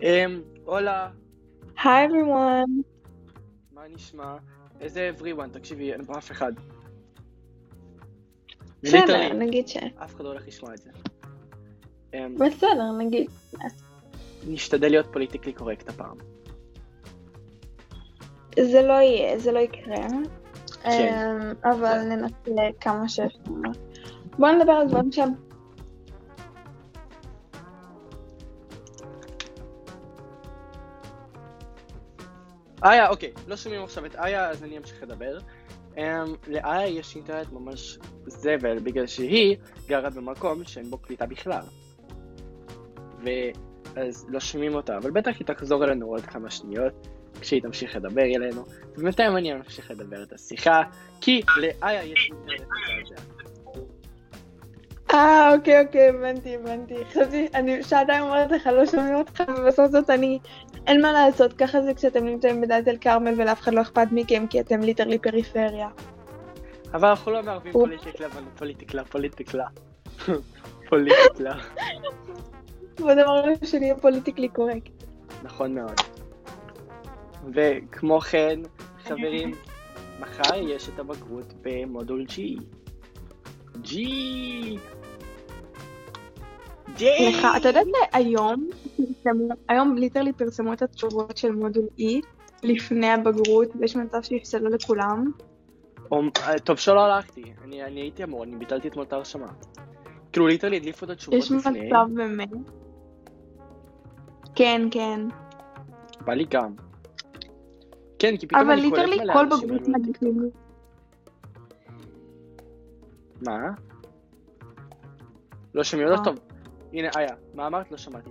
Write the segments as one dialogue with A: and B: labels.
A: Um, הולה,
B: Hi everyone.
A: מה נשמע? איזה everyone, תקשיבי, אין פה אף אחד.
B: בסדר,
A: Literally,
B: נגיד ש...
A: אף אחד לא הולך לשמוע את זה. Um,
B: בסדר, נגיד.
A: נשתדל להיות פוליטיקלי קורקט הפעם.
B: זה לא יהיה, זה לא יקרה.
A: כן.
B: אמ, אבל ננסה כמה שאפשר. בואו נדבר על דברים שם.
A: איה, אוקיי, לא שומעים עכשיו את איה, אז אני אמשיך לדבר. Um, לאיה יש אינטרנט ממש זבל, בגלל שהיא גרה במקום שאין בו קליטה בכלל. ואז לא שומעים אותה, אבל בטח היא תחזור אלינו עוד כמה שניות, כשהיא תמשיך לדבר אלינו. ובינתיים אני אמשיך לדבר את השיחה, כי לאיה יש אינטרנט מזעזע.
B: אה, אוקיי, אוקיי, הבנתי, הבנתי. חשבתי, אני שעתיים אומרת לך, לא שומעים אותך, ובסוף זאת אני... אין מה לעשות, ככה זה כשאתם נמצאים בדלית אל כרמל ולאף אחד לא אכפת מכם, כי אתם ליטרלי פריפריה.
A: אבל אנחנו לא מערבים
B: אופ.
A: פוליטיקלה, אבל פוליטיקלה, פוליטיקלה. פוליטיקלה.
B: והדבר הראשון שלי יהיה פוליטיקלי קורקט.
A: נכון מאוד. וכמו כן, חברים, מחר יש את הבגרות במודול G. G! G!
B: לך,
A: אה.
B: אתה יודעת שהיום, פרסמו- היום ליטרלי פרסמו את התשובות של מודול E לפני הבגרות, ויש מצב שיפסלו לכולם.
A: אומ- אה, טוב שלא הלכתי, אני אני הייתי אמור, אני ביטלתי אתמול את ההרשמה. כאילו ליטרלי הדליפו את התשובות
B: יש
A: לפני,
B: מצב באמת. כן, כן.
A: בא לי גם. כן, כי פתאום
B: אבל
A: אני קולט
B: ליטרלי
A: מלא
B: כל
A: אנשים
B: בגרות
A: עלו לטיקטוק.
B: מדליפים.
A: מה? לא שומעים אותך
B: אה.
A: טוב. הנה, איה, מה אמרת? לא שמעתי.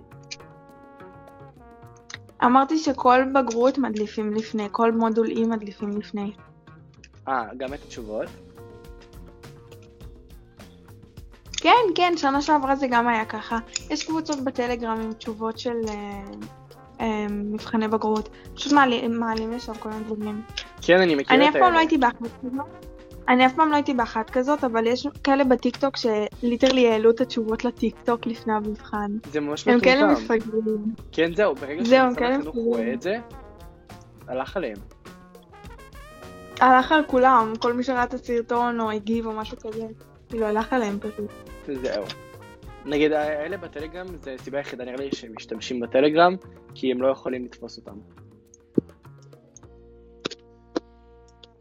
B: אמרתי שכל בגרות מדליפים לפני, כל מודול E מדליפים לפני.
A: אה, גם את התשובות?
B: כן, כן, שנה שעברה זה גם היה ככה. יש קבוצות בטלגרם עם תשובות של אה, אה, מבחני בגרות. פשוט מעלים מעלים לשם כל מיני דברים.
A: כן, אני מכיר את
B: אני אף פעם
A: האלה.
B: לא הייתי באחת כזאת. אני אף פעם לא הייתי באחת כזאת, אבל יש כאלה בטיקטוק שליטרלי העלו את התשובות לטיקטוק לפני המבחן.
A: זה ממש
B: הם כאלה
A: מטומטם.
B: מפגרים.
A: כן, זהו, ברגע
B: זהו,
A: שמשרד
B: כאלה
A: החינוך
B: מפגרים.
A: רואה את זה, הלך עליהם.
B: הלך על כולם, כל מי שראה את הסרטון או הגיב או משהו כזה. כאילו, הלך עליהם פשוט.
A: זהו. נגיד, האלה בטלגרם, זה הסיבה היחידה נראה לי שהם משתמשים בטלגרם, כי הם לא יכולים לתפוס אותם.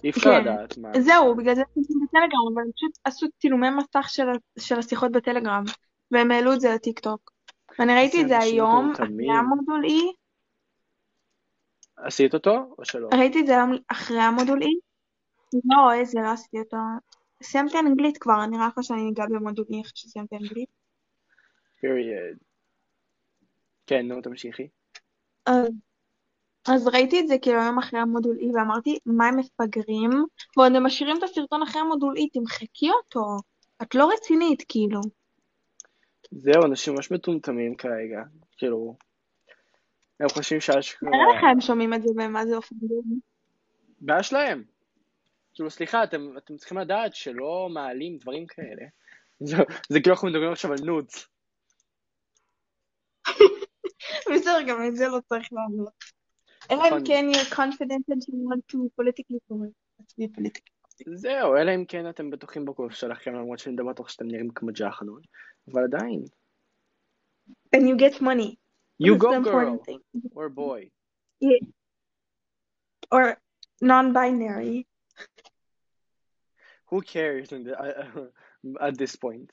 A: אי אפשר
B: כן.
A: לדעת מה.
B: זהו, בגלל זה עשיתי בטלגרם, אבל הם פשוט עשו צילומי מסך של, ה- של השיחות בטלגרם, והם העלו את זה לטיקטוק. ואני ראיתי את זה
A: אנשים
B: היום,
A: מטומטמים.
B: אחרי המודול E,
A: עשית אותו או שלא?
B: ראיתי את זה היום אחרי המודול E? לא, איזה, לא עשיתי אותו. סיימתי אנגלית כבר, נראה לך שאני אגע במודול E אחרי שסיימתי אנגלית.
A: period. כן, נו, תמשיכי. אה.
B: אז- אז ראיתי את זה כאילו היום אחרי המודול E ואמרתי, מה הם מפגרים? ועוד הם משאירים את הסרטון אחרי המודול E, תמחקי אותו. את לא רצינית, כאילו.
A: זהו, אנשים ממש מטומטמים כרגע. כאילו, הם חושבים שהשקעה...
B: נראה לך הם שומעים את זה ומה זה אופנגרים.
A: בעיה שלהם. כאילו, סליחה, אתם, אתם צריכים לדעת שלא מעלים דברים כאלה. זה, זה כאילו אנחנו מדברים עכשיו על נודס.
B: בסדר, גם את זה לא צריך לענות. אלא
A: נכון.
B: אם כן you're confident that you want to be politically correct. Let's be politically.
A: זהו, אלא אם כן אתם בטוחים בגוף שלכם, למרות שאני לא בטוח שאתם נראים כמו ג'חנון, אבל עדיין.
B: And you get money.
A: You
B: That's the
A: go
B: important
A: girl,
B: thing.
A: or boy.
B: Or non-binary.
A: Who cares in the, uh, at this point?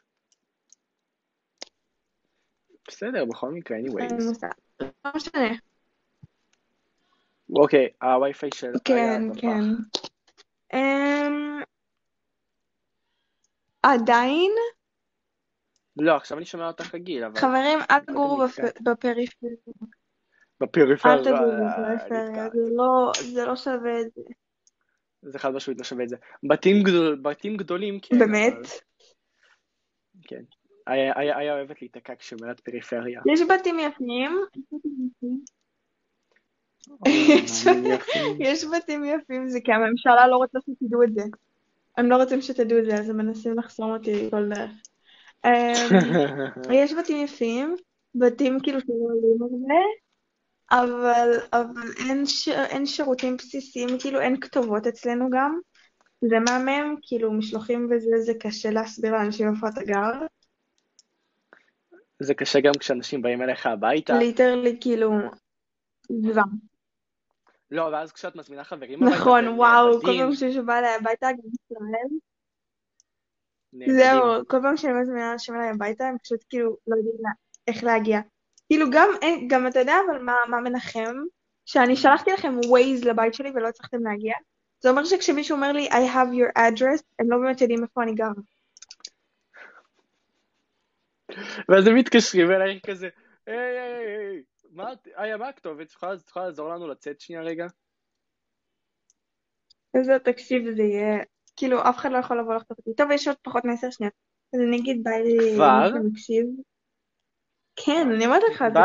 A: בסדר, בכל מקרה,
B: אין
A: anyways.
B: מושג. לא משנה.
A: אוקיי, הווי-פיי של...
B: כן,
A: היה
B: כן.
A: בפח.
B: אמ, עדיין,
A: לא, עכשיו אני שומע אותך רגיל, אבל...
B: חברים, אל תגורו
A: נתקע.
B: בפ- בפריפריה.
A: בפריפריה...
B: אל תגורו
A: נתקע.
B: בפריפריה. זה לא- זה לא שווה את זה.
A: זה חד משמעית לא שווה את זה. בתים, גדול, בתים גדולים, כן.
B: באמת?
A: אבל- כן. היה, היה, היה אוהבת להיתקע כשאומרת פריפריה.
B: יש בתים יפים.
A: יש.
B: יש בתים יפים זה כי הממשלה לא רוצה שתדעו את זה. הם לא רוצים שתדעו את זה, אז הם מנסים לחסום אותי כל דרך. אמ, יש בתים יפים, בתים כאילו שלא עולים הרבה, אבל, אבל אין, ש... אין שירותים בסיסיים, כאילו אין כתובות אצלנו גם. זה מהמם, כאילו משלוחים וזה, זה קשה להסביר לאנשים איפה אתה גר.
A: זה קשה גם כשאנשים באים אליך הביתה.
B: ליטרלי, כאילו, זוועה.
A: לא, ואז כשאת מזמינה חברים
B: נכון,
A: והם
B: וואו, כל
A: נאבדים,
B: פעם שמישהו בא אליי הביתה, גם ישראל.
A: נאבדים.
B: זהו, כל פעם שאני מזמינה אנשים אליי הביתה, הם פשוט כאילו לא יודעים לה- איך להגיע. כאילו גם, אין- גם אתה יודע, אבל מה, מה מנחם? שאני שלחתי לכם ווייז לבית שלי ולא הצלחתם להגיע. זה אומר שכשמישהו אומר לי, I have your address, הם לא באמת יודעים איפה אני גרה.
A: ואז הם מתקשרים אלייך כזה, היי, היי, היי, היי, מה את- איה, מה הכתובת? את יכולה- את יכולה לעזור לנו לצאת שנייה רגע?
B: איזה תקשיב, זה יהיה... כאילו, אף אחד לא יכול לבוא לחטוף אותי. טוב, יש עוד פחות מעשר שניות. אז אני אגיד ביי
A: כבר?
B: למי שמקשיב. כן, אני אומרת לך, זה
A: ביי.